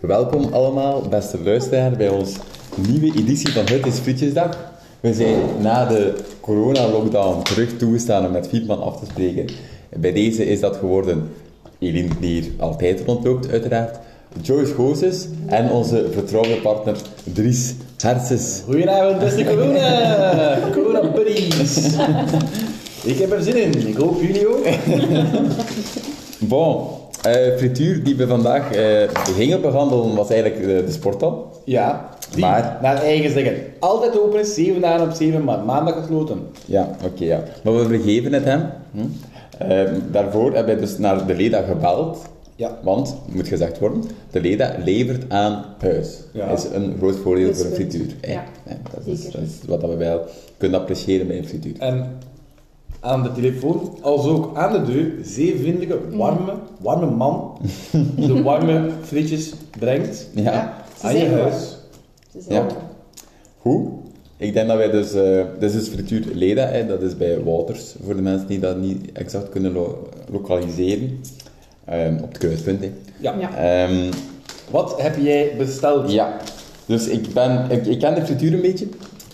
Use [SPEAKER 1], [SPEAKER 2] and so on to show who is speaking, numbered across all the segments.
[SPEAKER 1] Welkom allemaal, beste luisteraar, bij ons nieuwe editie van Het is Frietjesdag. We zijn na de corona-lockdown terug toegestaan om met Fietman af te spreken. Bij deze is dat geworden Eline, die hier altijd rondloopt, uiteraard. Joyce Goossens en onze vertrouwde partner Dries Herses.
[SPEAKER 2] Goedenavond, beste corona! Corona buddies! Ik heb er zin in, ik hoop jullie ook.
[SPEAKER 1] Bon, eh, frituur die we vandaag eh, gingen behandelen was eigenlijk eh, de, de sporttal.
[SPEAKER 2] Ja, die,
[SPEAKER 1] Maar-
[SPEAKER 2] naar eigen zeggen. Altijd open is, 7 dagen op 7, maar maandag gesloten.
[SPEAKER 1] Ja, oké, ja. Maar we vergeven het hem. Hm? Ehm, daarvoor hebben we dus naar de Leda gebeld.
[SPEAKER 2] Ja.
[SPEAKER 1] Want, moet gezegd worden, de Leda levert aan huis.
[SPEAKER 2] Ja.
[SPEAKER 1] Dat is een groot voordeel
[SPEAKER 3] Dat is
[SPEAKER 1] voor een
[SPEAKER 3] goed.
[SPEAKER 1] frituur. hè.
[SPEAKER 3] Ja,
[SPEAKER 1] Hè, dat, is,
[SPEAKER 3] zeker.
[SPEAKER 1] dat is wat we wel kunnen appreciëren bij een frituur.
[SPEAKER 2] En aan de telefoon, als ook aan de deur, zeer vriendelijke, warme, warme man die de warme frietjes brengt
[SPEAKER 1] Ja.
[SPEAKER 3] Ze
[SPEAKER 2] aan je
[SPEAKER 3] zijn warm.
[SPEAKER 2] huis.
[SPEAKER 3] Ze zijn
[SPEAKER 1] Ja.
[SPEAKER 3] warm.
[SPEAKER 1] Goed. Ik denk dat wij dus... eh dit is dus frituur Leda, hè, dat is bij Wouters, voor de mensen die dat niet exact kunnen lo- lokaliseren. Ehm, op het kruispunt, hè.
[SPEAKER 2] Ja.
[SPEAKER 3] Ja.
[SPEAKER 1] Ehm,
[SPEAKER 2] Wat heb jij besteld?
[SPEAKER 1] Ja, dus ik, ben, ik, ik ken de frituur een beetje.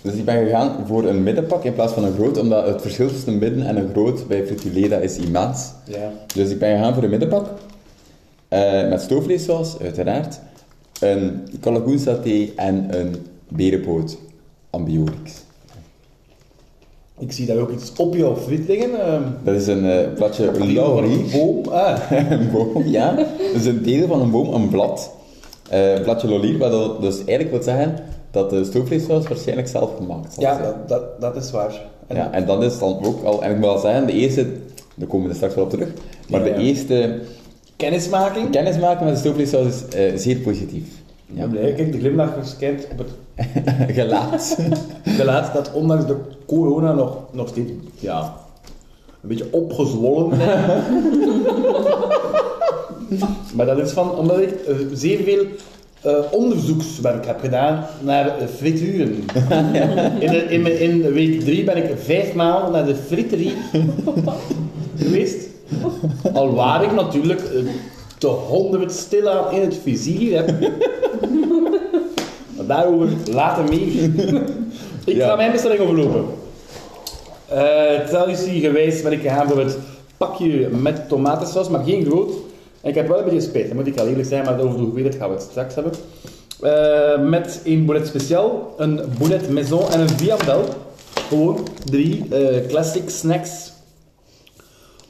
[SPEAKER 1] Dus ik ben gegaan voor een middenpak in plaats van een groot, omdat het verschil tussen een midden en een groot bij Frituleda is immens.
[SPEAKER 2] Ja.
[SPEAKER 1] Dus ik ben gegaan voor een middenpak. eh, met stoofvleessaus, uiteraard. Een kalkoen saté en een berenpoot. Ambiorix.
[SPEAKER 2] Ik zie daar ook iets op jouw friet liggen. ehm,
[SPEAKER 1] Dat is een eh, platje laurie.
[SPEAKER 2] boom. Ah.
[SPEAKER 1] Een boom, ja. Dus een deel van een boom, een blad. Eh, een platje lolier, wat dat dus eigenlijk wil zeggen dat de stoofvleessaus waarschijnlijk zelf gemaakt zal
[SPEAKER 2] Ja,
[SPEAKER 1] zijn.
[SPEAKER 2] dat, dat, dat is waar. En
[SPEAKER 1] Ja, en dat is dan ook al, en ik moet al zeggen, de eerste, daar komen we straks wel op terug, maar
[SPEAKER 2] Ja.
[SPEAKER 1] de eerste
[SPEAKER 2] Kennismaking.
[SPEAKER 1] kennismaking met de stoofvleessaus is eh, zeer positief.
[SPEAKER 2] Ik
[SPEAKER 1] Ja.
[SPEAKER 2] ben blij. Kijk, de glimlach verschijnt op het
[SPEAKER 1] Gelaat.
[SPEAKER 2] gelaat dat ondanks de corona nog, nog steeds ja, een beetje opgezwollen lijkt. maar dat is van, omdat ik eh, zeer veel eh, onderzoekswerk heb gedaan naar eh, frituren. In, de- in, mijn- in week 3 ben ik vijf maal naar de friterie geweest. Al waar ik natuurlijk eh, de honderd stilaan in het vizier heb. Maar daarover later meer. Ik
[SPEAKER 1] Ja.
[SPEAKER 2] ga mijn bestelling overlopen. Eh traditie geweest ben ik gegaan voor het pakje met tomatensaus, maar geen groot. En ik heb wel een beetje spijt, dat moet ik al eerlijk zijn, maar over de hoeveelheid gaan we het straks hebben. Eh, met een boulet speciaal, een boulet maison en een viandel. Gewoon drie eh, classic snacks.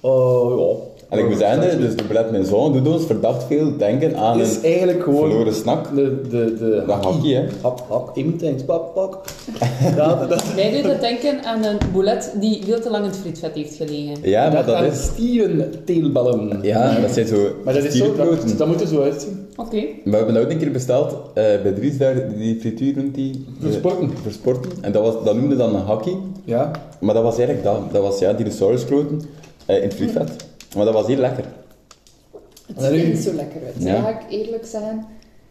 [SPEAKER 2] Oh ja.
[SPEAKER 1] En ik moet zeggen, dus de Brett mijn zoon doet ons verdacht veel denken aan
[SPEAKER 2] Het is
[SPEAKER 1] een
[SPEAKER 2] eigenlijk gewoon
[SPEAKER 1] verloren snack.
[SPEAKER 2] de, de, de
[SPEAKER 1] Dat hakkie, hè.
[SPEAKER 2] Hap, hap, imtanks, pak, pak. Dat, dat,
[SPEAKER 4] Mij doet het denken aan een boulet die veel te lang in het frietvet heeft gelegen.
[SPEAKER 1] Ja, maar dat
[SPEAKER 2] zijn
[SPEAKER 1] is...
[SPEAKER 2] stierenteelballen.
[SPEAKER 1] Ja, dat zijn zo
[SPEAKER 2] Maar dat is zo, dat,
[SPEAKER 1] stierenbroten.
[SPEAKER 2] dat moet er zo uitzien.
[SPEAKER 4] Oké.
[SPEAKER 1] Maar we hebben dat ook een keer besteld eh, bij Dries daar, die frituur noemt die...
[SPEAKER 2] Versporten.
[SPEAKER 1] Eh, Versporten. En dat, was, dat noemde dan een hakkie.
[SPEAKER 2] Ja.
[SPEAKER 1] Maar dat was eigenlijk dat. Dat was ja, dinosaurusbroten eh, in het frietvet. Maar dat was heel lekker.
[SPEAKER 3] Het
[SPEAKER 2] Maar
[SPEAKER 3] ziet er
[SPEAKER 2] nu-
[SPEAKER 3] niet zo lekker uit.
[SPEAKER 1] Ja.
[SPEAKER 3] Ja. ga ik eerlijk zeggen.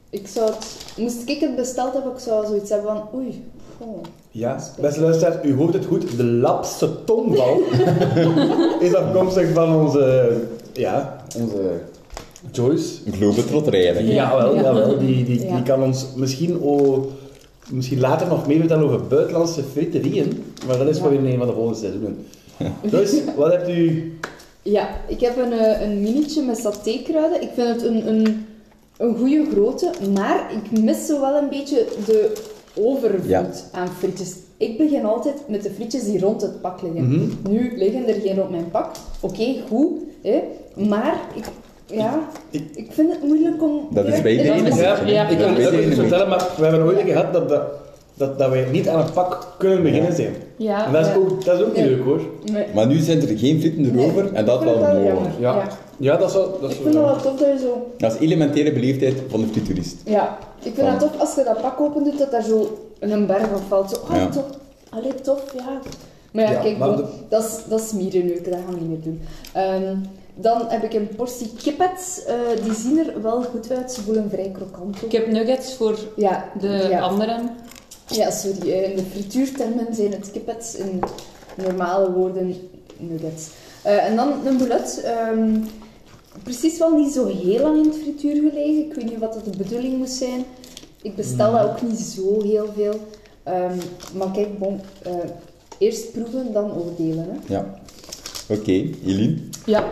[SPEAKER 3] Ik zou het, moest ik het besteld hebben, ik zou zoiets hebben van oei. goh.
[SPEAKER 2] Ja, beste luisteraars, u hoort het goed. De lapse tongval is afkomstig van onze, ja, onze Joyce.
[SPEAKER 1] Een globetrotter eigenlijk.
[SPEAKER 2] Jawel,
[SPEAKER 4] Ja.
[SPEAKER 2] jawel. Die, die,
[SPEAKER 3] Ja.
[SPEAKER 2] die kan ons misschien, o- misschien later nog meer vertellen over buitenlandse friterieën. Maar dat is
[SPEAKER 3] Ja.
[SPEAKER 2] voor in een van de volgende seizoenen. Dus, wat hebt u...
[SPEAKER 3] Ja, ik heb een, eh, een minietje met satékruiden. Ik vind het een, een, een goede grootte, maar ik mis zo wel een beetje de overvloed
[SPEAKER 1] Ja.
[SPEAKER 3] aan frietjes. Ik begin altijd met de frietjes die rond het pak liggen.
[SPEAKER 2] Mhm.
[SPEAKER 3] Nu liggen er geen rond mijn pak. Oké, goed. Hè? Maar ik, ja,
[SPEAKER 2] Ik-
[SPEAKER 3] ik vind het moeilijk om...
[SPEAKER 1] Dat is bij
[SPEAKER 3] direct-
[SPEAKER 1] iedereen
[SPEAKER 4] Dat is-
[SPEAKER 1] een
[SPEAKER 2] Ja,
[SPEAKER 1] beetje, hè.
[SPEAKER 4] ja,
[SPEAKER 2] ik
[SPEAKER 1] Dat
[SPEAKER 2] kan
[SPEAKER 1] is
[SPEAKER 2] het
[SPEAKER 1] bij
[SPEAKER 2] ook
[SPEAKER 1] iedereen
[SPEAKER 2] niet
[SPEAKER 1] een beetje.
[SPEAKER 2] vertellen, maar we hebben ooit gehad dat, dat, dat, dat wij niet aan een pak kunnen beginnen zijn.
[SPEAKER 3] Ja,
[SPEAKER 2] En dat is
[SPEAKER 3] ja.
[SPEAKER 2] ook, dat is ook niet
[SPEAKER 3] Ja.
[SPEAKER 2] leuk hoor.
[SPEAKER 3] Nee.
[SPEAKER 1] Maar nu zijn er geen frieten erover
[SPEAKER 3] Nee,
[SPEAKER 1] en dat
[SPEAKER 3] ik vind
[SPEAKER 1] wel
[SPEAKER 3] het
[SPEAKER 1] mooi.
[SPEAKER 3] jammer.
[SPEAKER 2] Ja. Ja, dat is wel... Dat
[SPEAKER 3] Ik
[SPEAKER 2] is
[SPEAKER 3] vind het
[SPEAKER 2] wel
[SPEAKER 3] wel tof dat je zo...
[SPEAKER 1] Dat is elementaire beleefdheid van de frituurist.
[SPEAKER 3] Ja, ik vind
[SPEAKER 1] Van-
[SPEAKER 3] dat tof als je dat pak opent doet, dat daar zo een berg op valt. Zo, ah,
[SPEAKER 1] Ja.
[SPEAKER 3] tof. Allee, tof, ja. Maar ja,
[SPEAKER 2] Ja,
[SPEAKER 3] kijk,
[SPEAKER 2] maar
[SPEAKER 3] bon,
[SPEAKER 2] de-
[SPEAKER 3] dat, is, dat is mierenneuken, dat gaan we niet meer doen. Ehm, dan heb ik een portie kippets. Eh, die zien er wel goed uit, ze voelen vrij krokant ook.
[SPEAKER 4] Ik heb nuggets voor
[SPEAKER 3] Ja,
[SPEAKER 4] de
[SPEAKER 3] ja.
[SPEAKER 4] anderen.
[SPEAKER 3] ja, sorry. eh, In de frituurtermen zijn het kippets, in normale woorden nuggets. Eh, en dan een boulet. ehm, precies wel niet zo heel lang in het frituur gelegen. Ik weet niet wat dat de bedoeling moest zijn. Ik bestel dat ook niet zo heel veel. Ehm, maar kijk, bon, eh, eerst proeven, dan oordelen. Hè.
[SPEAKER 1] Ja. Oké, Eline.
[SPEAKER 4] Ja,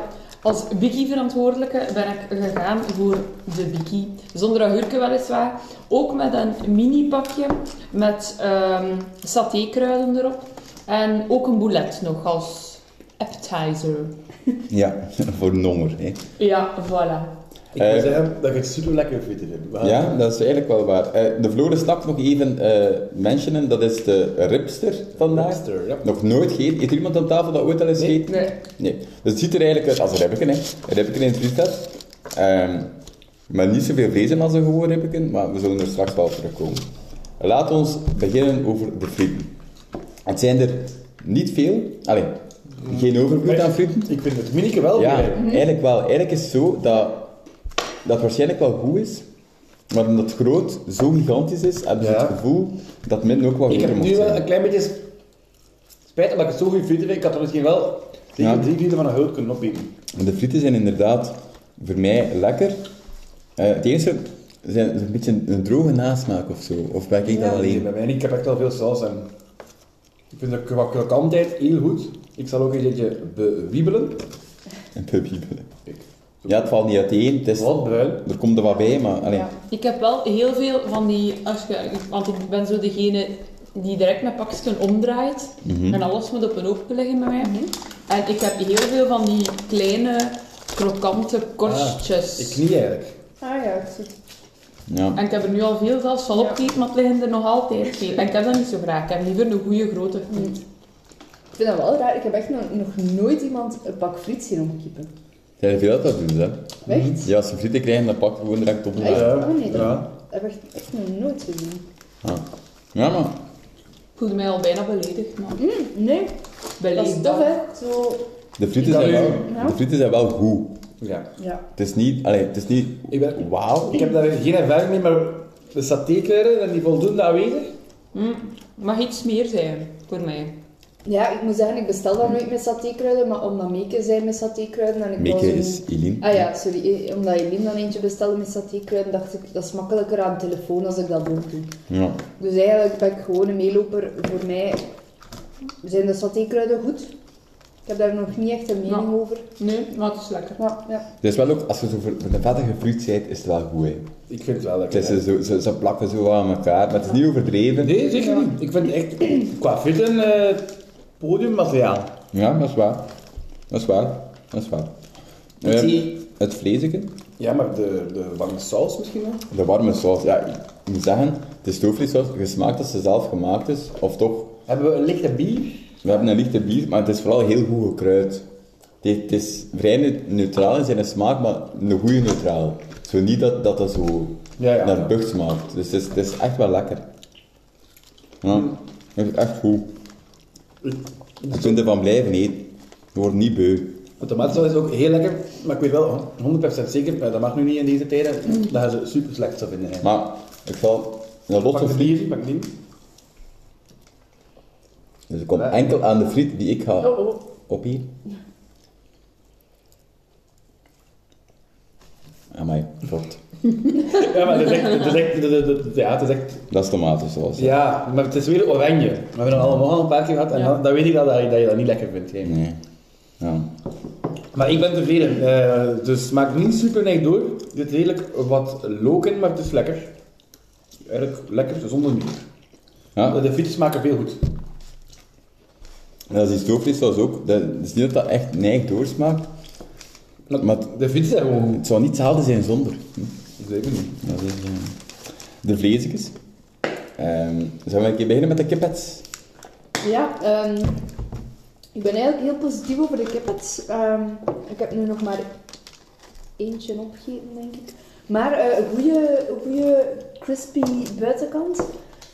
[SPEAKER 4] als Biggie-verantwoordelijke ben ik gegaan voor de Biggie. Zonder agurken weliswaar. Ook met een mini-pakje met ehm satékruiden erop. En ook een boulet nog als appetizer.
[SPEAKER 1] Ja, voor nommer. Hè.
[SPEAKER 4] Ja, voilà.
[SPEAKER 2] Ik wil
[SPEAKER 1] Eh.
[SPEAKER 2] zeggen dat ik het super lekker vind. erin. Maar-
[SPEAKER 1] Ja, dat is eigenlijk wel waar. Eh, de Floris stap nog even eh mentionen, dat is de ribster vandaag.
[SPEAKER 2] Lobster, ja.
[SPEAKER 1] Nog nooit gegeten. Heeft er iemand aan tafel dat ooit al eens
[SPEAKER 2] Nee.
[SPEAKER 1] gegeten?
[SPEAKER 4] Nee.
[SPEAKER 1] Nee. Dus het ziet er eigenlijk uit als ribbeken, hè. Ribbeken in het frietvet. Ehm maar niet zoveel vlees in als een gewoon ribbeken, maar we zullen er straks wel op terugkomen. Laat ons beginnen over de frieten. Het zijn er niet veel, alleen geen overvloed aan frieten.
[SPEAKER 2] Ik vind het minike wel
[SPEAKER 1] Ja,
[SPEAKER 2] weer.
[SPEAKER 1] eigenlijk wel. Eigenlijk is het zo dat dat waarschijnlijk wel goed is, maar omdat het groot zo gigantisch is, heb je
[SPEAKER 2] Ja.
[SPEAKER 1] het gevoel dat het midden ook wel
[SPEAKER 2] Ik
[SPEAKER 1] groter
[SPEAKER 2] heb
[SPEAKER 1] moet
[SPEAKER 2] nu wel een
[SPEAKER 1] zijn.
[SPEAKER 2] klein beetje s- spijt omdat ik het zo goed vind. Ik had er misschien wel zeker
[SPEAKER 1] Ja.
[SPEAKER 2] drie liter van een hulp kunnen opeten.
[SPEAKER 1] De frieten zijn inderdaad voor mij lekker. Eh, het enige zijn een beetje een droge nasmaak of zo. Of ben ik dat
[SPEAKER 2] Nee,
[SPEAKER 1] alleen?
[SPEAKER 2] bij mij niet. Ik heb echt wel veel saus en ik vind dat qua krokantheid heel goed. Ik zal ook een beetje bewiebelen.
[SPEAKER 1] Een pubje. Ja, het valt niet uiteen. Het is,
[SPEAKER 2] Wat bruin.
[SPEAKER 1] er komt er wat bij, maar alleen.
[SPEAKER 4] Ja. Ik heb wel heel veel van die, als je, want ik ben zo degene die direct mijn pakjes omdraait
[SPEAKER 1] Mhm.
[SPEAKER 4] en alles moet op een hoopje liggen bij mij. En ik heb heel veel van die kleine, krokante korstjes.
[SPEAKER 2] Ik niet eigenlijk.
[SPEAKER 3] Ah ja, ik zie het.
[SPEAKER 1] Ja.
[SPEAKER 4] En ik heb er nu al veel zelfs van
[SPEAKER 3] Ja.
[SPEAKER 4] opgegeten, maar het liggen er nog altijd veel. En ik heb dat niet zo graag. Ik heb liever een goede grote friet.
[SPEAKER 3] Ik vind dat wel raar. Ik heb echt nog, nog nooit iemand een pak friet zien omkippen.
[SPEAKER 1] Zijn er veel dat dat doen, hè?
[SPEAKER 3] Echt?
[SPEAKER 1] Hmm, Ja, als ze frieten krijgen, dan pak je gewoon direct op.
[SPEAKER 3] Echt?
[SPEAKER 2] Ja,
[SPEAKER 3] Oh nee, dat
[SPEAKER 2] ja.
[SPEAKER 3] heb ik echt, echt nog nooit gezien.
[SPEAKER 1] Ja. ja, maar
[SPEAKER 4] Ik voelde mij al bijna beledigd, maar
[SPEAKER 3] Mm, nee, dat is
[SPEAKER 4] beledigd.
[SPEAKER 3] tof hè. Zo,
[SPEAKER 1] de frieten,
[SPEAKER 2] Ik kan
[SPEAKER 1] zijn wel,
[SPEAKER 2] u-
[SPEAKER 3] Ja.
[SPEAKER 1] de frieten zijn wel goed.
[SPEAKER 2] Ja.
[SPEAKER 3] ja.
[SPEAKER 1] Het is niet, allee, het is niet
[SPEAKER 2] Ik ben-
[SPEAKER 1] wauw.
[SPEAKER 2] Ik heb daar geen ervaring mee, maar de satékruiden en die voldoende aanwezig.
[SPEAKER 4] Mm, mag iets meer zijn voor mij.
[SPEAKER 3] Ja, ik moet zeggen, ik bestel dat nooit met satékruiden, maar omdat Meke zei met satékruiden en ik wou
[SPEAKER 1] Meke
[SPEAKER 3] zo
[SPEAKER 1] is
[SPEAKER 3] niet-
[SPEAKER 1] Eline.
[SPEAKER 3] Ah ja, sorry. eh, Omdat Eline dan eentje bestelde met satékruiden, dacht ik, dat is makkelijker aan de telefoon als ik dat ook doe.
[SPEAKER 1] Ja.
[SPEAKER 3] Dus eigenlijk ben ik gewoon een meeloper. Voor mij zijn de satékruiden goed. Ik heb daar nog niet echt een mening
[SPEAKER 4] Ja.
[SPEAKER 3] over.
[SPEAKER 4] Nee, maar het is lekker.
[SPEAKER 3] Maar ja,
[SPEAKER 1] Het is wel ook, als je zo voor voor een vettige fruit bent, is het wel goed. Hè.
[SPEAKER 2] Ik vind het wel
[SPEAKER 1] Het
[SPEAKER 2] lekker.
[SPEAKER 1] is
[SPEAKER 2] hè.
[SPEAKER 1] zo, ze, ze plakken zo wat aan elkaar, maar het is niet overdreven.
[SPEAKER 2] Nee, zeker niet. Ik vind echt qua fit een eh, podiummateriaal.
[SPEAKER 1] Ja, dat is waar. Dat is waar. Dat is waar.
[SPEAKER 2] Ik
[SPEAKER 1] Eh,
[SPEAKER 2] zie-
[SPEAKER 1] het vleesje,
[SPEAKER 2] Ja, maar de, de warme saus misschien wel?
[SPEAKER 1] de warme saus. Ja, ik moet zeggen, het is stoofvleessaus, gesmaakt als ze zelf gemaakt is. Of toch,
[SPEAKER 2] Hebben we een lichte bier?
[SPEAKER 1] we hebben een lichte bier, maar het is vooral heel goed gekruid. Het, heeft- het is vrij ne- neutraal in zijn smaak, maar een goede neutraal. Zo niet dat dat, dat zo
[SPEAKER 2] Ja, ja.
[SPEAKER 1] naar bug smaakt. Dus het is, het is echt wel lekker. Ja, het is echt goed. Je kunt ervan blijven eten. Je wordt niet beu.
[SPEAKER 2] De tomatensaus is ook heel lekker, maar ik weet wel 100% zeker, maar dat mag nu niet in deze tijden, dat gaan ze super slecht zou vinden. eigenlijk.
[SPEAKER 1] Maar ik zal een lot
[SPEAKER 2] Pak
[SPEAKER 1] van
[SPEAKER 2] de
[SPEAKER 1] friet.
[SPEAKER 2] bier, pak het niet.
[SPEAKER 1] Dus ik kom enkel aan de friet die ik ga
[SPEAKER 3] oh, oh.
[SPEAKER 1] op hier. Amai, klopt.
[SPEAKER 2] Ja, maar het is echt, het is echt, het is- het is- ja, het is echt,
[SPEAKER 1] Dat is tomatensaus. hè.
[SPEAKER 2] ja, maar het is weer oranje. We hebben dat allemaal al een paar keer gehad en
[SPEAKER 4] Ja.
[SPEAKER 2] dan, dan weet ik dat, dat je dat je dat niet lekker vindt. hè.
[SPEAKER 1] Nee. Ja.
[SPEAKER 2] Maar ik ben tevreden, eh, dus maak niet super neig door. Er zit redelijk wat look in, maar het is lekker. Eigenlijk lekker, zonder meer.
[SPEAKER 1] ja.
[SPEAKER 2] De frietjes maken veel goed.
[SPEAKER 1] En dat is die stoofvleessaus ook. Dat het is niet dat dat echt neig doorsmaakt. Maar het-
[SPEAKER 2] de frietjes zijn gewoon
[SPEAKER 1] het zou niet hetzelfde zijn zonder. Hm?
[SPEAKER 2] goed. Zeker niet.
[SPEAKER 1] Dat is, eh, de vleesjes. Ehm zullen we een keer beginnen met de kippets?
[SPEAKER 3] Ja, ehm, ik ben eigenlijk heel positief over de kippets. Ehm, ik heb nu nog maar eentje opgegeten, denk ik. Maar eh, een goede, goede crispy buitenkant.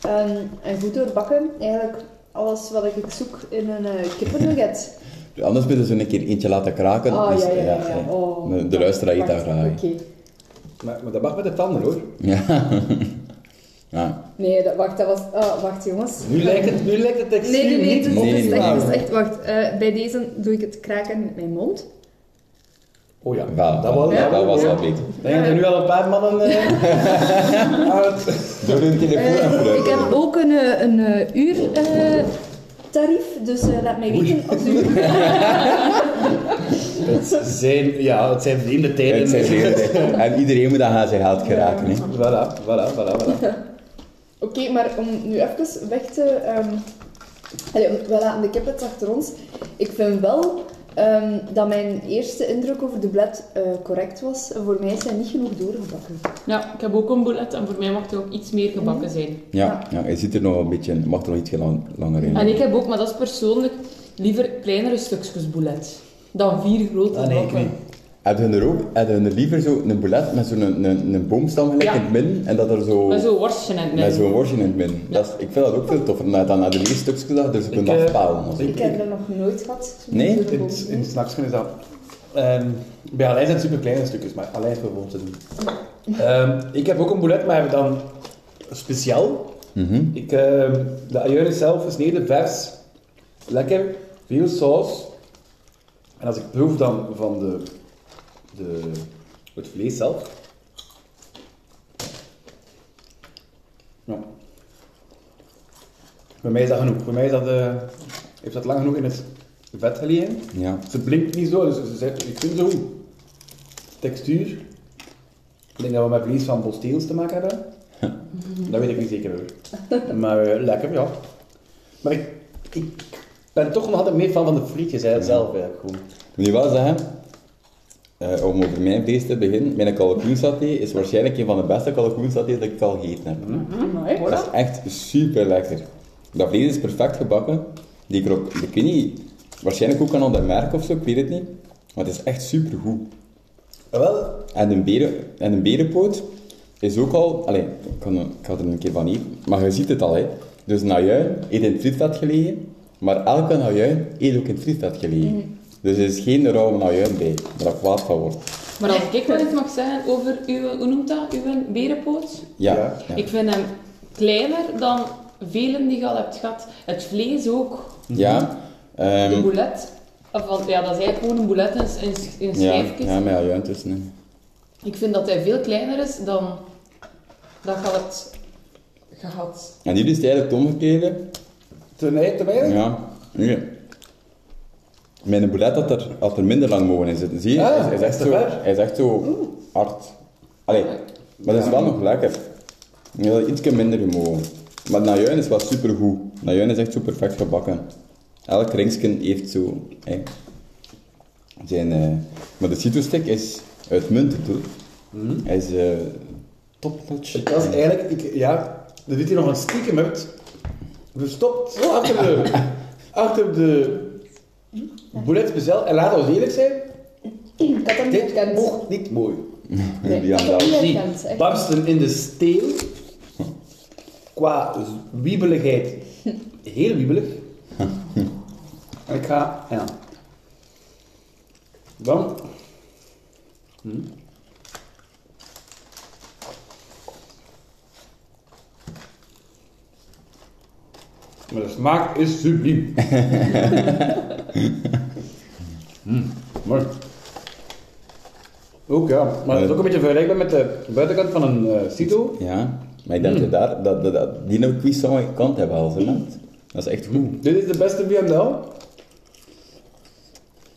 [SPEAKER 3] Ehm, en goed doorbakken. Eigenlijk alles wat ik zoek in een eh, kippennugget.
[SPEAKER 1] Anders moeten ze een keer eentje laten kraken.
[SPEAKER 3] Ah,
[SPEAKER 1] Dus,
[SPEAKER 3] ja, ja, ja.
[SPEAKER 1] ja,
[SPEAKER 3] ja.
[SPEAKER 1] ja.
[SPEAKER 3] Oh,
[SPEAKER 1] de, de luisteraar eet dat
[SPEAKER 3] wacht,
[SPEAKER 1] graag.
[SPEAKER 3] Oké.
[SPEAKER 2] Maar, maar dat mag met de tanden hoor.
[SPEAKER 1] Ja. ja.
[SPEAKER 3] Nee, dat, wacht, dat was... ah, wacht, jongens.
[SPEAKER 2] Nu lijkt het, nu lijkt het textuur
[SPEAKER 3] Nee, nee, nee,
[SPEAKER 2] niet
[SPEAKER 3] het is,
[SPEAKER 1] Nee,
[SPEAKER 3] het is
[SPEAKER 1] nee,
[SPEAKER 3] echt,
[SPEAKER 1] nee.
[SPEAKER 3] het is echt. Wacht, eh, bij deze doe ik het kraken met mijn mond.
[SPEAKER 2] Oh ja,
[SPEAKER 1] Wel,
[SPEAKER 2] dat was
[SPEAKER 1] dat was wel
[SPEAKER 2] Ik
[SPEAKER 1] beter.
[SPEAKER 2] denk dat er nu al een paar mannen eh, aan het-
[SPEAKER 1] Door hun telefoon
[SPEAKER 3] Eh,
[SPEAKER 1] afgeluid.
[SPEAKER 3] ik heb ook een, eh, een eh, uur eh, tarief, dus eh, laat mij weten. Als u...
[SPEAKER 2] Het zijn, ja, het zijn vreemde tijden.
[SPEAKER 1] Het zijn leren- En iedereen moet aan zijn geld geraken. Hè.
[SPEAKER 2] Voilà, voilà, voilà, voilà.
[SPEAKER 3] Oké, maar om nu even weg te... ehm allee, om- we laten de kippen achter ons. Ik vind wel ehm, dat mijn eerste indruk over de blad eh, correct was. Voor mij zijn niet genoeg doorgebakken.
[SPEAKER 4] Ja, ik heb ook een bullet en voor mij mag hij ook iets meer gebakken zijn.
[SPEAKER 1] Ja, ja, hij zit er nog een beetje, mag er nog iets lang- langer in.
[SPEAKER 4] En ik heb ook, maar dat is persoonlijk, liever kleinere stukjes bullet dan vier grote
[SPEAKER 2] Ah, nee, ik
[SPEAKER 4] bakken.
[SPEAKER 2] niet.
[SPEAKER 1] Heb je er ook, heb je er liever zo een bullet met zo'n een, een, een boomstam gelijk
[SPEAKER 4] Ja.
[SPEAKER 1] in het midden en dat er zo
[SPEAKER 4] Met zo'n worstje in het
[SPEAKER 1] met
[SPEAKER 4] midden.
[SPEAKER 1] zo'n worstje in het midden. Dat is, ik vind dat ook veel toffer dan dan naar de vier stukjes dat je er zo kunt
[SPEAKER 2] Ik, eh,
[SPEAKER 1] afpalen. of zo.
[SPEAKER 2] ik-
[SPEAKER 3] Ik heb dat nog nooit gehad.
[SPEAKER 1] Nee?
[SPEAKER 3] Zo'n
[SPEAKER 2] In,
[SPEAKER 3] boom.
[SPEAKER 2] in het nachtje is dat. Ehm, bij Alain zijn het super kleine stukjes, maar Alain heeft gewoon te doen. Ehm, ik heb ook een boulet, maar dan speciaal.
[SPEAKER 1] Mhm.
[SPEAKER 2] Ik, ehm, de ajuin is zelf gesneden, vers, lekker, veel saus. En als ik proef dan van de, de, het vlees zelf. Ja. Voor mij is dat genoeg. Voor mij is dat, eh, heeft dat lang genoeg in het vet gelegen.
[SPEAKER 1] Ja.
[SPEAKER 2] Ze blinkt niet zo, dus ze zegt, ik vind ze goed. Textuur. Ik denk dat we met vlees van bosteels te maken hebben. dat weet ik niet zeker hoor. Maar eh, lekker, ja. Maar ik, ik ben toch nog altijd meer fan van de frietjes hè, zelf eigenlijk gewoon.
[SPEAKER 1] Ik moet je wel zeggen, eh, om over mijn vlees te beginnen, mijn kalkoensaté is waarschijnlijk een van de beste kalkoensaté dat ik al gegeten heb.
[SPEAKER 4] Amai.
[SPEAKER 1] Dat is echt super lekker. Dat vlees is perfect gebakken. Die krok, ik weet niet, waarschijnlijk ook aan ander merk of zo, ik weet het niet. Maar het is echt super goed.
[SPEAKER 2] Ah, Wel,
[SPEAKER 1] En een, beren, en een berenpoot is ook al... Allee, ik kan- ik had er een keer van eten, maar je ziet het al, hè. Dus een ajuin eet in het frietvet gelegen, maar elke ajuin eet ook in het frietvet gelegen. Dus er is geen rauwe ajuin bij, waar ik kwaad van word.
[SPEAKER 4] Maar als ik wel iets mag zeggen over uw, hoe noemt dat, uw berenpoot?
[SPEAKER 1] Ja.
[SPEAKER 2] Ja.
[SPEAKER 1] ja.
[SPEAKER 4] Ik vind hem kleiner dan velen die je al hebt gehad. Het vlees ook,
[SPEAKER 1] Ja, ehm,
[SPEAKER 4] de boulet. Of, want ja, dat is eigenlijk gewoon een boulet in, in, in
[SPEAKER 1] ja,
[SPEAKER 4] schijfjes.
[SPEAKER 1] ja, met ajuin tussenin.
[SPEAKER 4] Ik vind dat hij veel kleiner is dan dat je al hebt gehad.
[SPEAKER 1] En hier is het eigenlijk het omgekeerde.
[SPEAKER 2] ten einde
[SPEAKER 1] Ja, nee. Mijn bullet had er, had er minder lang mogen in zitten. Zie je?
[SPEAKER 2] Ah,
[SPEAKER 1] hij, is echt
[SPEAKER 2] is te
[SPEAKER 1] zo,
[SPEAKER 2] ver. Mm.
[SPEAKER 1] hij is echt zo hard. Allee, maar dat is wel nog lekker. Je had ietsje minder gemogen. Maar Najuin is wel supergoed. Najuin is echt zo perfect gebakken. Elk ringsken heeft zo... hè, zijn, eh, maar de citrusstick is uitmuntend hoor.
[SPEAKER 2] Mhm.
[SPEAKER 1] Hij is eh topnotch.
[SPEAKER 2] Het was eigenlijk, ik, ja, er zit hier nog een stiekem uit. Verstopt zo achter de, achter de boulet zelf. En laat ons eerlijk zijn,
[SPEAKER 3] Ik had dat niet
[SPEAKER 2] dit
[SPEAKER 3] herkend.
[SPEAKER 2] mocht niet mooi.
[SPEAKER 3] Nee,
[SPEAKER 1] Die
[SPEAKER 3] ik
[SPEAKER 1] aan
[SPEAKER 3] had dat
[SPEAKER 1] de-
[SPEAKER 3] niet
[SPEAKER 2] Die
[SPEAKER 3] herkend. echt.
[SPEAKER 2] barsten in de steel. Qua wiebeligheid heel wiebelig. En ik ga, ja. Dan. Hm. Maar de smaak is subliem. Hm, mooi. Ook ja, maar het is ook een beetje vergelijkbaar met de buitenkant van een eh cito.
[SPEAKER 1] Ja, maar ik denk
[SPEAKER 4] Hmm.
[SPEAKER 1] dat daar, dat, dat, dat, die nou quiz zou ik kant hebben als hè, maat. Dat is echt goed.
[SPEAKER 4] Hmm.
[SPEAKER 2] Dit is de beste BML.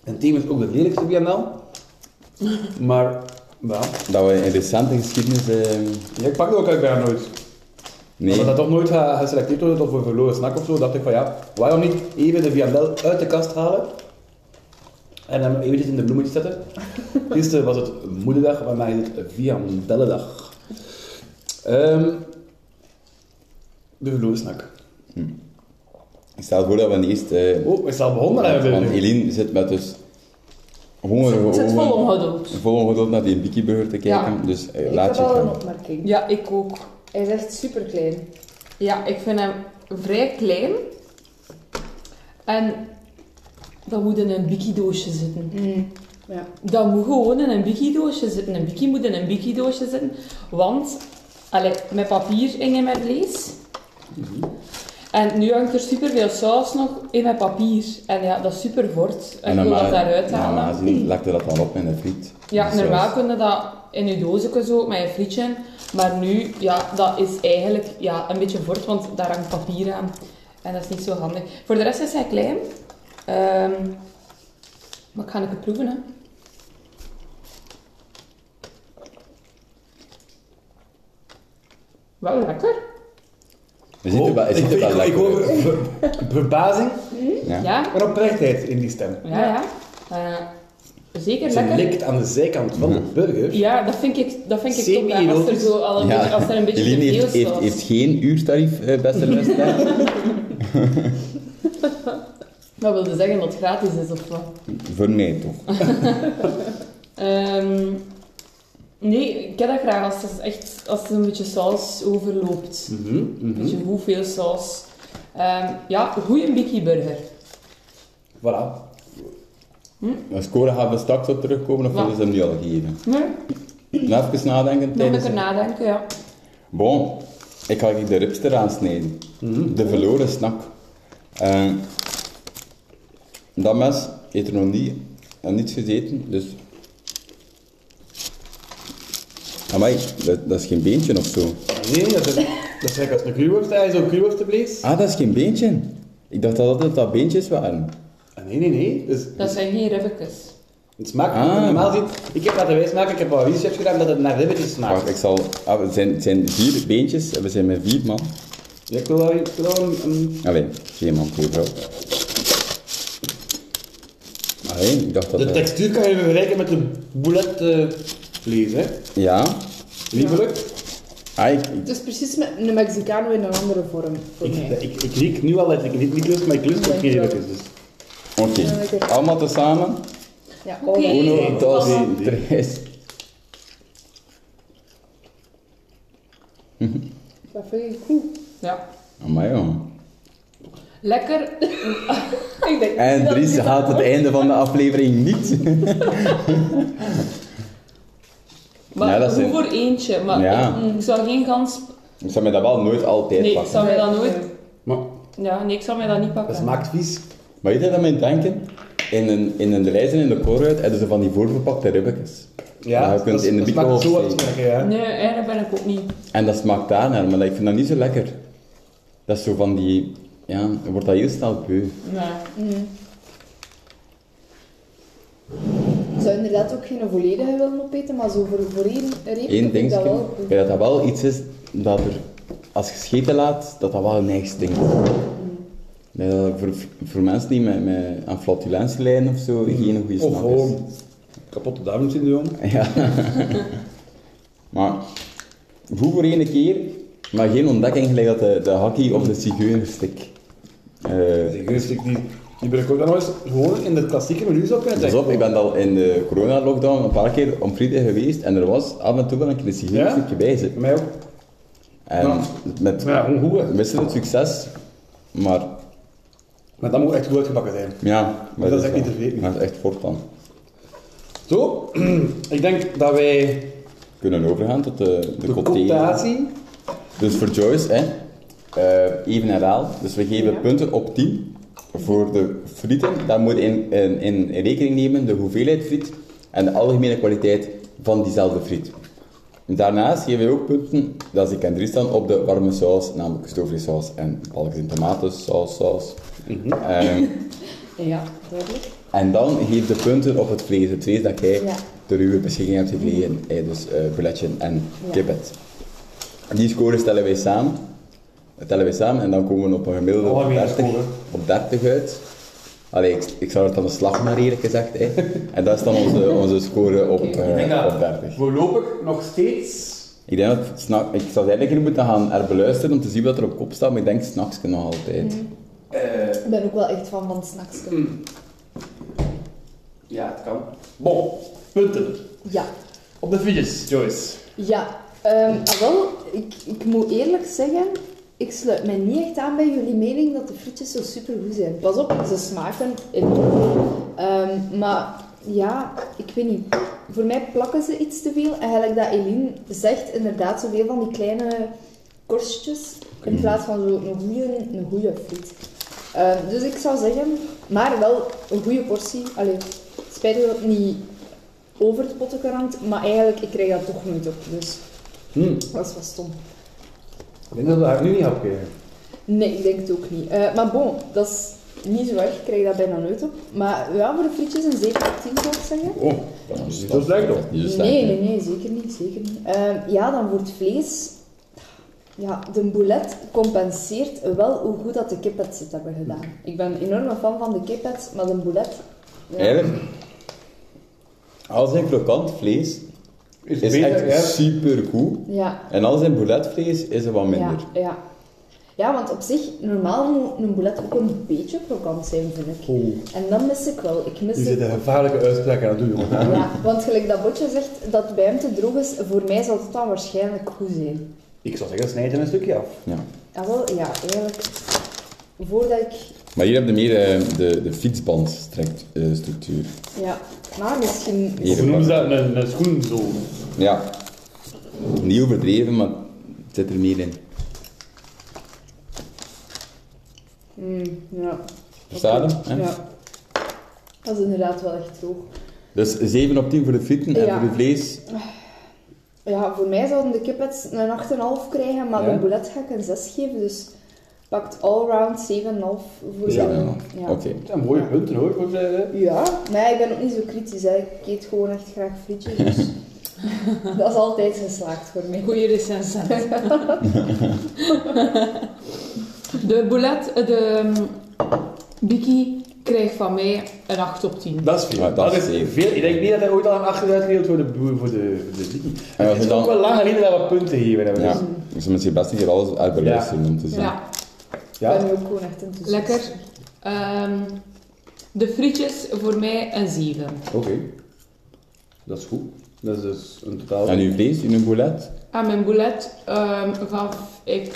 [SPEAKER 2] En tevens ook de lelijkste BML. Maar, ja.
[SPEAKER 1] Dat we in recente geschiedenis... eh,
[SPEAKER 2] ja, ik pak het ook uit bijna nooit.
[SPEAKER 1] nee,
[SPEAKER 2] Omdat dat toch nooit ge- geselecteerd wordt of een verloren snack of zo, dacht ik van ja, waarom niet even de viandel uit de kast halen en hem eventjes in de bloemetjes zetten. Gisteren was het moederdag, maar mij is het viandellendag. Ehm de verloren snack.
[SPEAKER 1] ik stel voor dat we eerst... eh
[SPEAKER 2] Oh, we staan begonnen
[SPEAKER 1] want
[SPEAKER 2] hebben we nu.
[SPEAKER 1] Eline zit met dus hongerige
[SPEAKER 4] Het zit
[SPEAKER 1] ogen,
[SPEAKER 4] vol omgedood.
[SPEAKER 1] vol ongeduld naar die Biki Burger te kijken.
[SPEAKER 4] Ja.
[SPEAKER 1] Dus eh,
[SPEAKER 3] Ik
[SPEAKER 1] laat
[SPEAKER 3] heb
[SPEAKER 1] je
[SPEAKER 3] al een
[SPEAKER 1] gaan.
[SPEAKER 3] opmerking.
[SPEAKER 4] Ja, ik ook.
[SPEAKER 3] Hij is echt super klein.
[SPEAKER 4] Ja, ik vind hem vrij klein. En dat moet in een biki-doosje zitten.
[SPEAKER 3] Ja.
[SPEAKER 4] Dat moet gewoon in een biki-doosje zitten. Een biki moet in een biki-doosje zitten. Want, allee, met papier ging in mijn vlees. En nu hangt er superveel saus nog in mijn papier. En ja, dat is super fort. En ik wil dat daaruit halen.
[SPEAKER 1] Normaal gezien legt dat dan op in de friet.
[SPEAKER 4] Ja,
[SPEAKER 1] Dus, eh,
[SPEAKER 4] normaal kun je dat in je doosje zo, met je frietje. Maar nu, ja, dat is eigenlijk ja, een beetje fort, want daar hangt papier aan. En dat is niet zo handig. Voor de rest is hij klein. Ehm, maar ik ga het proeven, hè. Wel lekker.
[SPEAKER 1] Je ziet
[SPEAKER 4] Oh,
[SPEAKER 1] er wel, je
[SPEAKER 2] ik,
[SPEAKER 1] ziet er
[SPEAKER 2] ik,
[SPEAKER 1] wel
[SPEAKER 2] ik,
[SPEAKER 1] lekker
[SPEAKER 2] hoor
[SPEAKER 1] uit.
[SPEAKER 2] ver- verbazing
[SPEAKER 1] Ja.
[SPEAKER 4] Ja,
[SPEAKER 2] en oprechtheid in die stem.
[SPEAKER 4] ja, ja. Eh, zeker
[SPEAKER 2] Ze
[SPEAKER 4] lekker.
[SPEAKER 2] likt aan de zijkant van de
[SPEAKER 1] Mhm.
[SPEAKER 2] burger.
[SPEAKER 4] Ja, dat vind ik, dat vind ik top. hè. Als er,
[SPEAKER 2] Semi-erotisch.
[SPEAKER 4] zo al een
[SPEAKER 1] Ja.
[SPEAKER 4] beetje, als er een beetje te
[SPEAKER 1] Eline
[SPEAKER 4] veel
[SPEAKER 1] heeft, heeft,
[SPEAKER 4] saus-
[SPEAKER 1] heeft geen uurtarief, eh, beste luisteraar.
[SPEAKER 4] Dat wilde zeggen dat het gratis is of wat?
[SPEAKER 1] Voor mij toch.
[SPEAKER 4] Ehm, nee, ik heb dat graag als het, echt, als het een beetje saus overloopt.
[SPEAKER 2] Mhm, mhm.
[SPEAKER 4] Een beetje hoeveel saus. Ehm, ja, goede Biki Burger.
[SPEAKER 2] Voilà.
[SPEAKER 1] De score gaan we straks op terugkomen of
[SPEAKER 4] Ja.
[SPEAKER 1] willen ze hem nu al geven?
[SPEAKER 4] Nee,
[SPEAKER 1] Nou, even nadenken
[SPEAKER 4] nog een
[SPEAKER 1] tijdens...
[SPEAKER 4] keer nadenken, ja.
[SPEAKER 1] Bon, ik ga hier de ribs eraan snijden. De verloren snack. Eh, dat mes heeft er nog niet aan niets gezeten, dus... Amai, dat, dat is geen beentje of zo.
[SPEAKER 2] Nee, dat is, dat is lekker als een kruwurst. Hij is ook kruwurstenvlees.
[SPEAKER 1] Ah, dat is geen beentje. Ik dacht dat altijd dat beentjes waren.
[SPEAKER 2] Ah, Nee, nee, nee. Dus,
[SPEAKER 4] Dat zijn geen ribbekes.
[SPEAKER 2] het smaakt
[SPEAKER 1] Ah.
[SPEAKER 2] normaal gezien. Ik heb laten wijsmaken, ik heb wat research gedaan dat het naar ribbetjes smaakt.
[SPEAKER 1] Wacht, ik zal... Ah, het zijn, het zijn vier beentjes, en we zijn met vier man.
[SPEAKER 2] Ja, ik wil wel, ik wil wel een, een-
[SPEAKER 1] Allee, twee man, twee vrouw. Allee, ik dacht dat...
[SPEAKER 2] De
[SPEAKER 1] er-
[SPEAKER 2] textuur kan je vergelijken met de boulet eh, vlees, hè.
[SPEAKER 1] Ja.
[SPEAKER 2] Liefelijk.
[SPEAKER 1] Ah, ik, ik-
[SPEAKER 3] Het is Dus precies met een Mexicano in een andere vorm voor
[SPEAKER 2] Ik,
[SPEAKER 3] mij.
[SPEAKER 2] ik, ik riek nu al dat ik dit niet lust, maar ik lust ook geen ribbetjes. Dus.
[SPEAKER 1] Oké, allemaal tezamen.
[SPEAKER 3] Ja,
[SPEAKER 4] Oké.
[SPEAKER 3] oh,
[SPEAKER 1] Uno, dos,
[SPEAKER 4] Allemaal.
[SPEAKER 1] tres.
[SPEAKER 3] dat vind ik goed.
[SPEAKER 4] Ja.
[SPEAKER 1] Amai, joh.
[SPEAKER 4] Lekker. ik denk
[SPEAKER 1] En
[SPEAKER 4] niet dat
[SPEAKER 1] Dries
[SPEAKER 4] dit-
[SPEAKER 1] haalt het einde van de aflevering niet.
[SPEAKER 4] Maar
[SPEAKER 1] Ja, dat is
[SPEAKER 4] goed
[SPEAKER 1] een-
[SPEAKER 4] voor eentje. Maar
[SPEAKER 1] Ja.
[SPEAKER 4] ik, ik zou geen kans...
[SPEAKER 1] Ik zou mij dat wel nooit altijd
[SPEAKER 4] Nee, ik
[SPEAKER 1] pakken.
[SPEAKER 4] zou mij dat nooit...
[SPEAKER 2] Maar
[SPEAKER 4] Ja, nee, ik zou mij dat niet pakken.
[SPEAKER 2] dat smaakt vies.
[SPEAKER 1] Maar weet je dat mijn denken? In een, in een lijst en in de koolruit hebben ze van die voorverpakte ribbetjes.
[SPEAKER 2] Ja,
[SPEAKER 1] Maar je kunt
[SPEAKER 2] dat,
[SPEAKER 1] in de
[SPEAKER 2] dat smaakt zo
[SPEAKER 1] microgolf
[SPEAKER 2] wat
[SPEAKER 1] steken.
[SPEAKER 2] sterker, ja.
[SPEAKER 4] Nee, eigenlijk ben ik ook niet.
[SPEAKER 1] En dat smaakt daarnaar, maar ik vind dat niet zo lekker. Dat is zo van die... Ja, je wordt dat heel snel beu.
[SPEAKER 4] Nee.
[SPEAKER 3] Ik zou inderdaad ook geen volledige willen opeten, maar zo voor, voor één reep
[SPEAKER 1] Eén
[SPEAKER 3] vind ik
[SPEAKER 1] ding,
[SPEAKER 3] dat wel
[SPEAKER 1] ja,
[SPEAKER 3] goed.
[SPEAKER 1] dat dat wel iets is dat er, als je scheten laat, dat dat wel een eigen stinkt. Nee, dat dat voor, voor mensen die met, met aan flatulentie lijden of zo, geen goede
[SPEAKER 2] Hmm. Of
[SPEAKER 1] smaak is.
[SPEAKER 2] gewoon kapotte duimensyndroom.
[SPEAKER 1] Maar goed voor één keer, maar geen ontdekking gelijk dat de, de hakkie of de zigeunerstik. Eh
[SPEAKER 2] Die geurstik die, die ben ik ook dan nog eens gewoon in de klassieke menu zou kunnen
[SPEAKER 1] pas
[SPEAKER 2] zeggen.
[SPEAKER 1] dus op, ik ben al in de corona-lockdown een paar keer om frieten geweest en er was af en toe wel een keer een zigeunerstikje bij zitten.
[SPEAKER 2] Bij mij ook.
[SPEAKER 1] En
[SPEAKER 2] Ja.
[SPEAKER 1] met
[SPEAKER 2] Ja, gewoon goed, hè.
[SPEAKER 1] wisselend succes, maar
[SPEAKER 2] Maar dat moet echt goed uitgebakken zijn.
[SPEAKER 1] Ja, maar
[SPEAKER 2] Dat is echt
[SPEAKER 1] wel-
[SPEAKER 2] niet te vergeten.
[SPEAKER 1] Dat is echt fort dan.
[SPEAKER 2] Zo, ik denk dat wij
[SPEAKER 1] We kunnen overgaan tot de, de,
[SPEAKER 2] de
[SPEAKER 1] cocktail.
[SPEAKER 2] cooptatie...
[SPEAKER 1] Dus voor Joyce, hè, eh, even herhaal. Dus we geven punten op 10 voor de frieten. Dan moet je in, in, in rekening nemen de hoeveelheid friet en de algemene kwaliteit van diezelfde friet. Daarnaast geven we ook punten, dat is ik en Dries dan, op de warme saus, namelijk stoofvleessaus en balkjes en tomatensaus, saus. Ehm,
[SPEAKER 3] Ja, duidelijk.
[SPEAKER 1] En dan geef de punten op het vlees. Het vlees dat jij
[SPEAKER 3] Ja. Mhm.
[SPEAKER 1] door uw beschikking hebt gekregen. eh, Dus eh bouletje en
[SPEAKER 3] Ja.
[SPEAKER 1] kippet. Die scores stellen wij samen. Dat tellen wij samen en dan komen we op een gemiddelde op
[SPEAKER 2] Algemene
[SPEAKER 1] 30,
[SPEAKER 2] score.
[SPEAKER 1] op 30 uit. Allee, ik, ik zou het dan de slag maar eerlijk gezegd. hè. En dat is dan onze, onze score op, eh,
[SPEAKER 2] Ik denk dat
[SPEAKER 1] op 30.
[SPEAKER 2] voorlopig nog steeds...
[SPEAKER 1] Ik denk dat, snak- ik zou het eigenlijk hier moeten gaan herbeluisteren om te zien wat er op kop staat. Maar ik denk s'nachts nog
[SPEAKER 3] Mhm.
[SPEAKER 1] altijd.
[SPEAKER 2] eh,
[SPEAKER 3] Ik ben ook wel echt van van snacks.
[SPEAKER 2] ja, het kan. Bon, punten.
[SPEAKER 3] Ja,
[SPEAKER 2] Op de fiches, Joyce.
[SPEAKER 3] ja. Ehm, ah, wel, ik, ik moet eerlijk zeggen, ik sluit mij niet echt aan bij jullie mening dat de frietjes zo supergoed zijn. Pas op, ze smaken enorm. Ehm, maar ja, ik weet niet. Voor mij plakken ze iets te veel. En eigenlijk dat Eline zegt, inderdaad, zoveel van die kleine korstjes in plaats van zo een goede, een goede friet. Ehm, dus ik zou zeggen, maar wel een goede portie. Allee, spijtig dat het niet over het pottenke hangt, maar eigenlijk, ik krijg dat toch nooit op. Dus
[SPEAKER 2] Hm.
[SPEAKER 3] dat is wel stom.
[SPEAKER 2] Ik denk dat we haar nu niet opgeven.
[SPEAKER 3] Nee, ik denk het ook niet. Eh, maar bon, dat is niet zo erg, ik krijg dat bijna nooit op. Maar ja, voor de frietjes een 7 op 10 zou ik zeggen.
[SPEAKER 2] Oh, dat is niet zo slecht toch?
[SPEAKER 1] Niet zo slecht,
[SPEAKER 3] nee,
[SPEAKER 1] hè?
[SPEAKER 3] nee, nee, zeker niet. Zeker niet. Ehm, ja, dan voor het vlees. Ja, de boulet compenseert wel hoe goed dat de kippets het hebben gedaan. Ik ben enorm een fan van de kippets, maar de boulet... ja.
[SPEAKER 1] Eigenlijk, al zijn krokant vlees is
[SPEAKER 2] beter,
[SPEAKER 1] echt
[SPEAKER 2] ja.
[SPEAKER 1] super goed.
[SPEAKER 3] Ja,
[SPEAKER 1] En al zijn bouletvlees is er wat minder.
[SPEAKER 3] ja, ja. Ja, want op zich, normaal moet een boulet ook een beetje krokant zijn, vind ik.
[SPEAKER 2] Oh,
[SPEAKER 3] En dat mis ik wel. Ik mis
[SPEAKER 2] nu
[SPEAKER 3] het-
[SPEAKER 2] zit een gevaarlijke uitspraak aan het doen, jongen.
[SPEAKER 3] Ja, want gelijk dat Botje zegt dat het bij hem te droog is, voor mij zal het dan waarschijnlijk goed zijn.
[SPEAKER 2] Ik zou zeggen, snijd er een stukje af.
[SPEAKER 1] Ja.
[SPEAKER 3] Ah, wel, ja, eigenlijk. Voordat ik
[SPEAKER 1] Maar hier heb je meer eh, de, de fietsbandstructuur.
[SPEAKER 3] Ja, maar misschien...
[SPEAKER 1] Hier.
[SPEAKER 2] Hoe noemen ze dat? Een, een schoenzool.
[SPEAKER 1] ja. Niet overdreven, maar het zit er meer in.
[SPEAKER 3] Hmm, ja.
[SPEAKER 1] Verstaan
[SPEAKER 3] Oké,
[SPEAKER 1] hem, hè?
[SPEAKER 3] Ja. Dat is inderdaad wel echt droog.
[SPEAKER 1] Dus 7 op 10 voor de frieten en
[SPEAKER 3] Ja.
[SPEAKER 1] voor de vlees.
[SPEAKER 3] Ja, voor mij zouden de kippets een 8,5 krijgen, maar
[SPEAKER 1] Ja?
[SPEAKER 3] de boulet ga ik een 6 geven, dus pakt allround 7,5 voor
[SPEAKER 1] Ja.
[SPEAKER 3] de...
[SPEAKER 1] Oké.
[SPEAKER 2] Dat zijn mooie punten hoor, voor de...
[SPEAKER 3] Ja, nee, ik ben ook niet zo kritisch, hè. ik eet gewoon echt graag frietjes, dus dat is altijd geslaagd voor mij.
[SPEAKER 4] Goeie recensent. de boulet, de ehm, biki krijgt van mij een 8 op 10.
[SPEAKER 2] Dat is veel.
[SPEAKER 1] Ja,
[SPEAKER 2] dat
[SPEAKER 1] dat is
[SPEAKER 2] is
[SPEAKER 1] zeven.
[SPEAKER 2] veel. Ik denk niet dat hij ooit al een acht is uitgedeeld voor de boer, voor de, voor de ziekie.
[SPEAKER 1] En
[SPEAKER 2] Het
[SPEAKER 1] wat
[SPEAKER 2] is
[SPEAKER 1] je
[SPEAKER 2] ook wel
[SPEAKER 1] dan...
[SPEAKER 2] lang geleden dat we punten hier hebben.
[SPEAKER 1] Ja.
[SPEAKER 2] Dus.
[SPEAKER 1] Dus misschien best een keer alles uit beluisteren om te zien.
[SPEAKER 4] Ja,
[SPEAKER 3] Ik
[SPEAKER 2] Ja.
[SPEAKER 3] ben nu ook gewoon echt enthousiast.
[SPEAKER 4] lekker. Ehm, de frietjes voor mij een 7.
[SPEAKER 2] Oké. Dat is goed. Dat is dus een totaal...
[SPEAKER 1] En uw vlees, uw boulet?
[SPEAKER 4] Aan mijn boulet ehm, gaf ik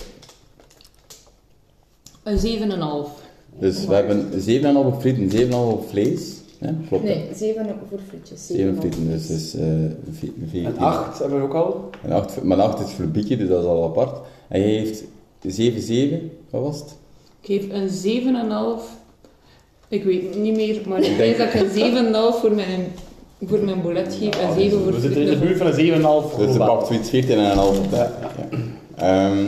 [SPEAKER 4] een 7,5.
[SPEAKER 1] Dus we hebben 7,5 op frieten, 7,5 op vlees. Ja, klopt. hè?
[SPEAKER 3] Nee, 7 voor frietjes.
[SPEAKER 1] 7
[SPEAKER 3] 7,5.
[SPEAKER 1] frieten, dus is
[SPEAKER 2] En
[SPEAKER 1] 14.
[SPEAKER 2] acht hebben we ook al.
[SPEAKER 1] En acht, maar acht is voor een bietje, dus dat is al apart. En jij heeft 7-7, wat was het?
[SPEAKER 4] Ik geef een 7,5. Ik weet het niet meer, maar ik denk dat ik een 7,5 voor mijn, voor mijn boulet geef en 7 voor
[SPEAKER 2] Nou, We zitten in de
[SPEAKER 4] frieten.
[SPEAKER 2] buurt van een 7,5
[SPEAKER 1] Dus ze
[SPEAKER 2] globaal.
[SPEAKER 1] pakt zoiets 14,5 op. hè? Ja. Ehm,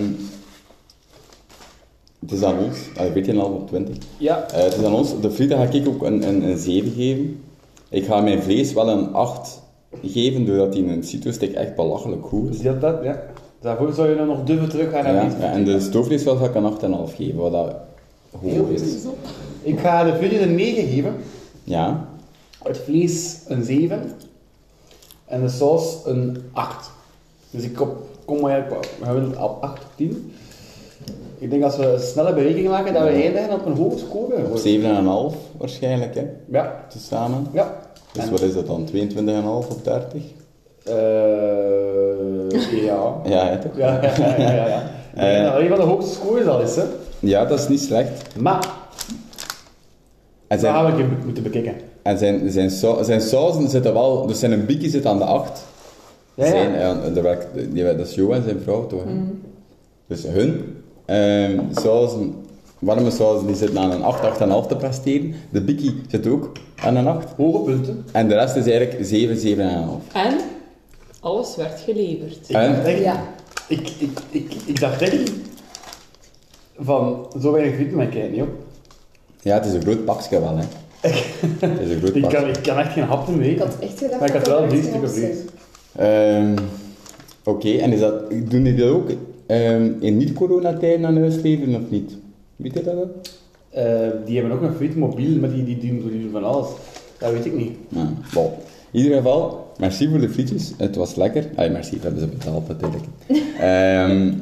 [SPEAKER 1] het is aan ons, ah, 14,5 op 20.
[SPEAKER 2] Ja.
[SPEAKER 1] Eh, het is aan ons, de frieten ga ik ook een, een, een 7 geven. Ik ga mijn vlees wel een 8 geven, doordat die in een cito-stick echt belachelijk goed is.
[SPEAKER 2] Dus dat, dat, ja. Daarvoor zou je dan nog dubber terug gaan naar
[SPEAKER 1] Ja,
[SPEAKER 2] iets.
[SPEAKER 1] ja, en de stoofvlees wel ga ik een 8,5 geven, wat dat hoog is.
[SPEAKER 2] Ik ga de frietjes een 9 geven.
[SPEAKER 1] Ja,
[SPEAKER 2] Het vlees een 7. En de saus een 8. Dus ik kom, kom eigenlijk op gemiddeld op 8 op 10. Ik denk als we een snelle berekening maken, dat we eindigen op een hoge score.
[SPEAKER 1] op
[SPEAKER 2] hoor.
[SPEAKER 1] 7,5 waarschijnlijk, hè,
[SPEAKER 2] Ja.
[SPEAKER 1] tezamen.
[SPEAKER 2] Ja.
[SPEAKER 1] Dus
[SPEAKER 2] En-
[SPEAKER 1] wat is dat dan? 22,5 op 30?
[SPEAKER 2] Eh, ja.
[SPEAKER 1] Ja, hè, toch?
[SPEAKER 2] Ja, ja, ja, ja. ja.
[SPEAKER 1] Eh.
[SPEAKER 2] Ik denk dat dat een van de hoogste scores al is, hè.
[SPEAKER 1] Ja, dat is niet slecht.
[SPEAKER 2] Maar,
[SPEAKER 1] En
[SPEAKER 2] dat
[SPEAKER 1] zijn,
[SPEAKER 2] gaan we even moeten bekijken.
[SPEAKER 1] en zijn, zijn, sau- zijn sauzen zitten wel... Dus zijn een bikkie zit aan de 8.
[SPEAKER 2] Ja, Mm. ja.
[SPEAKER 1] Zijn, eh, de werk, die, dat is Jo en zijn vrouw, toch? hè? Dus hun ehm sauzen, warme sauzen, die zitten aan een 8, 8,5 te presteren. De bikkie zit ook aan een 8.
[SPEAKER 2] Hoge punten.
[SPEAKER 1] En de rest is eigenlijk 7, 7,5.
[SPEAKER 4] En alles werd geleverd.
[SPEAKER 2] Ik,
[SPEAKER 1] Hè?
[SPEAKER 2] dacht echt-
[SPEAKER 3] Ja.
[SPEAKER 2] ik, ik, ik, ik dacht echt van, zo weinig frieten, maar ik kijk niet op.
[SPEAKER 1] Ja, het is een groot pakje wel, hè. het is een groot
[SPEAKER 2] Ik
[SPEAKER 1] pakje.
[SPEAKER 2] kan, ik kan echt geen hap meer
[SPEAKER 3] Ik
[SPEAKER 2] eten.
[SPEAKER 3] had echt gedacht
[SPEAKER 2] Maar ik had
[SPEAKER 3] dat
[SPEAKER 2] wel
[SPEAKER 3] er
[SPEAKER 2] drie
[SPEAKER 3] echt dus-
[SPEAKER 2] stukken
[SPEAKER 3] nog zijn.
[SPEAKER 2] vlees.
[SPEAKER 1] Ehm, Oké, en is dat, doen die dat ook ehm, in niet-coronatijden aan huis leveren of niet? Weet je dat wel?
[SPEAKER 2] Eh, die hebben ook een friet mobiel, maar die, die, die, die doen van alles. Dat weet ik niet.
[SPEAKER 1] Ja, bon. In ieder geval, merci voor de frietjes. Het was lekker. Ah, merci, dat is betaald natuurlijk. Ehm,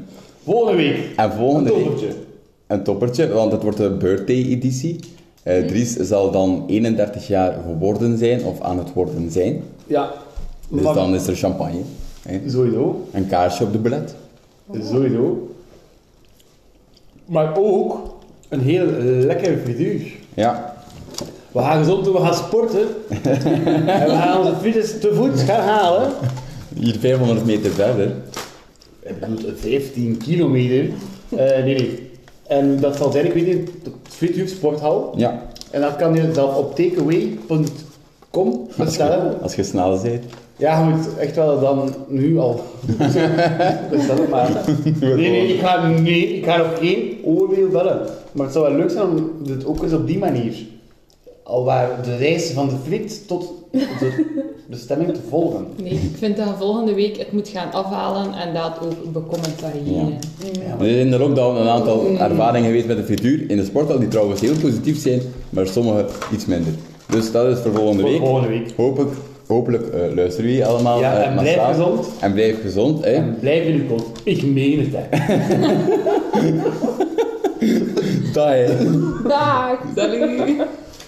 [SPEAKER 2] Volgende week.
[SPEAKER 1] en
[SPEAKER 2] Een
[SPEAKER 1] volgende week
[SPEAKER 2] toppertje.
[SPEAKER 1] een toppertje, want het wordt de birthday-editie.
[SPEAKER 2] Mhm.
[SPEAKER 1] Eh, Dries zal dan 31 jaar geworden zijn, of aan het worden zijn.
[SPEAKER 2] Ja.
[SPEAKER 1] Dus
[SPEAKER 2] Maar-
[SPEAKER 1] dan is er champagne. hè.
[SPEAKER 2] Sowieso.
[SPEAKER 1] Een kaarsje op de belet.
[SPEAKER 2] Sowieso. Maar ook een heel lekker frituur.
[SPEAKER 1] Ja,
[SPEAKER 2] We gaan gezond doen, we gaan sporten. en we gaan onze frietjes te voet gaan halen.
[SPEAKER 1] hier 500 meter verder.
[SPEAKER 2] ik bedoel, 15 kilometer. Eh, nee, nee. En dat zal zijn, ik weet niet, de Frituur Sporthal.
[SPEAKER 1] Ja,
[SPEAKER 2] En dat kan je zelf op takeaway.com
[SPEAKER 1] als je,
[SPEAKER 2] bestellen.
[SPEAKER 1] als je snel bent.
[SPEAKER 2] Ja, je moet echt wel dan nu al bestellen, maar... Nee, nee, ik ga, nee, ik ga nog geen oordeel vellen. Maar het zou wel leuk zijn om dit ook eens op die manier, al waar de reis van de frit tot de bestemming te volgen.
[SPEAKER 4] Nee, ik vind dat je volgende week het moet gaan afhalen en dat ook becommentariëren.
[SPEAKER 1] Ja.
[SPEAKER 2] Ja,
[SPEAKER 1] Er
[SPEAKER 2] maar-
[SPEAKER 1] is in de lockdown een aantal ervaringen geweest met de frituur in de sporthal, die trouwens heel positief zijn, maar sommige iets minder. Dus dat is voor volgende
[SPEAKER 2] Voor
[SPEAKER 1] week.
[SPEAKER 2] volgende week.
[SPEAKER 1] Hopelijk, hopelijk eh, luisteren jullie allemaal.
[SPEAKER 2] Ja,
[SPEAKER 1] eh,
[SPEAKER 2] en blijf
[SPEAKER 1] massaal.
[SPEAKER 2] gezond.
[SPEAKER 1] En blijf gezond, hè.
[SPEAKER 2] En blijf in uw kot. Ik meen het, hè.
[SPEAKER 1] Dag, hè.
[SPEAKER 4] Dag! Salut!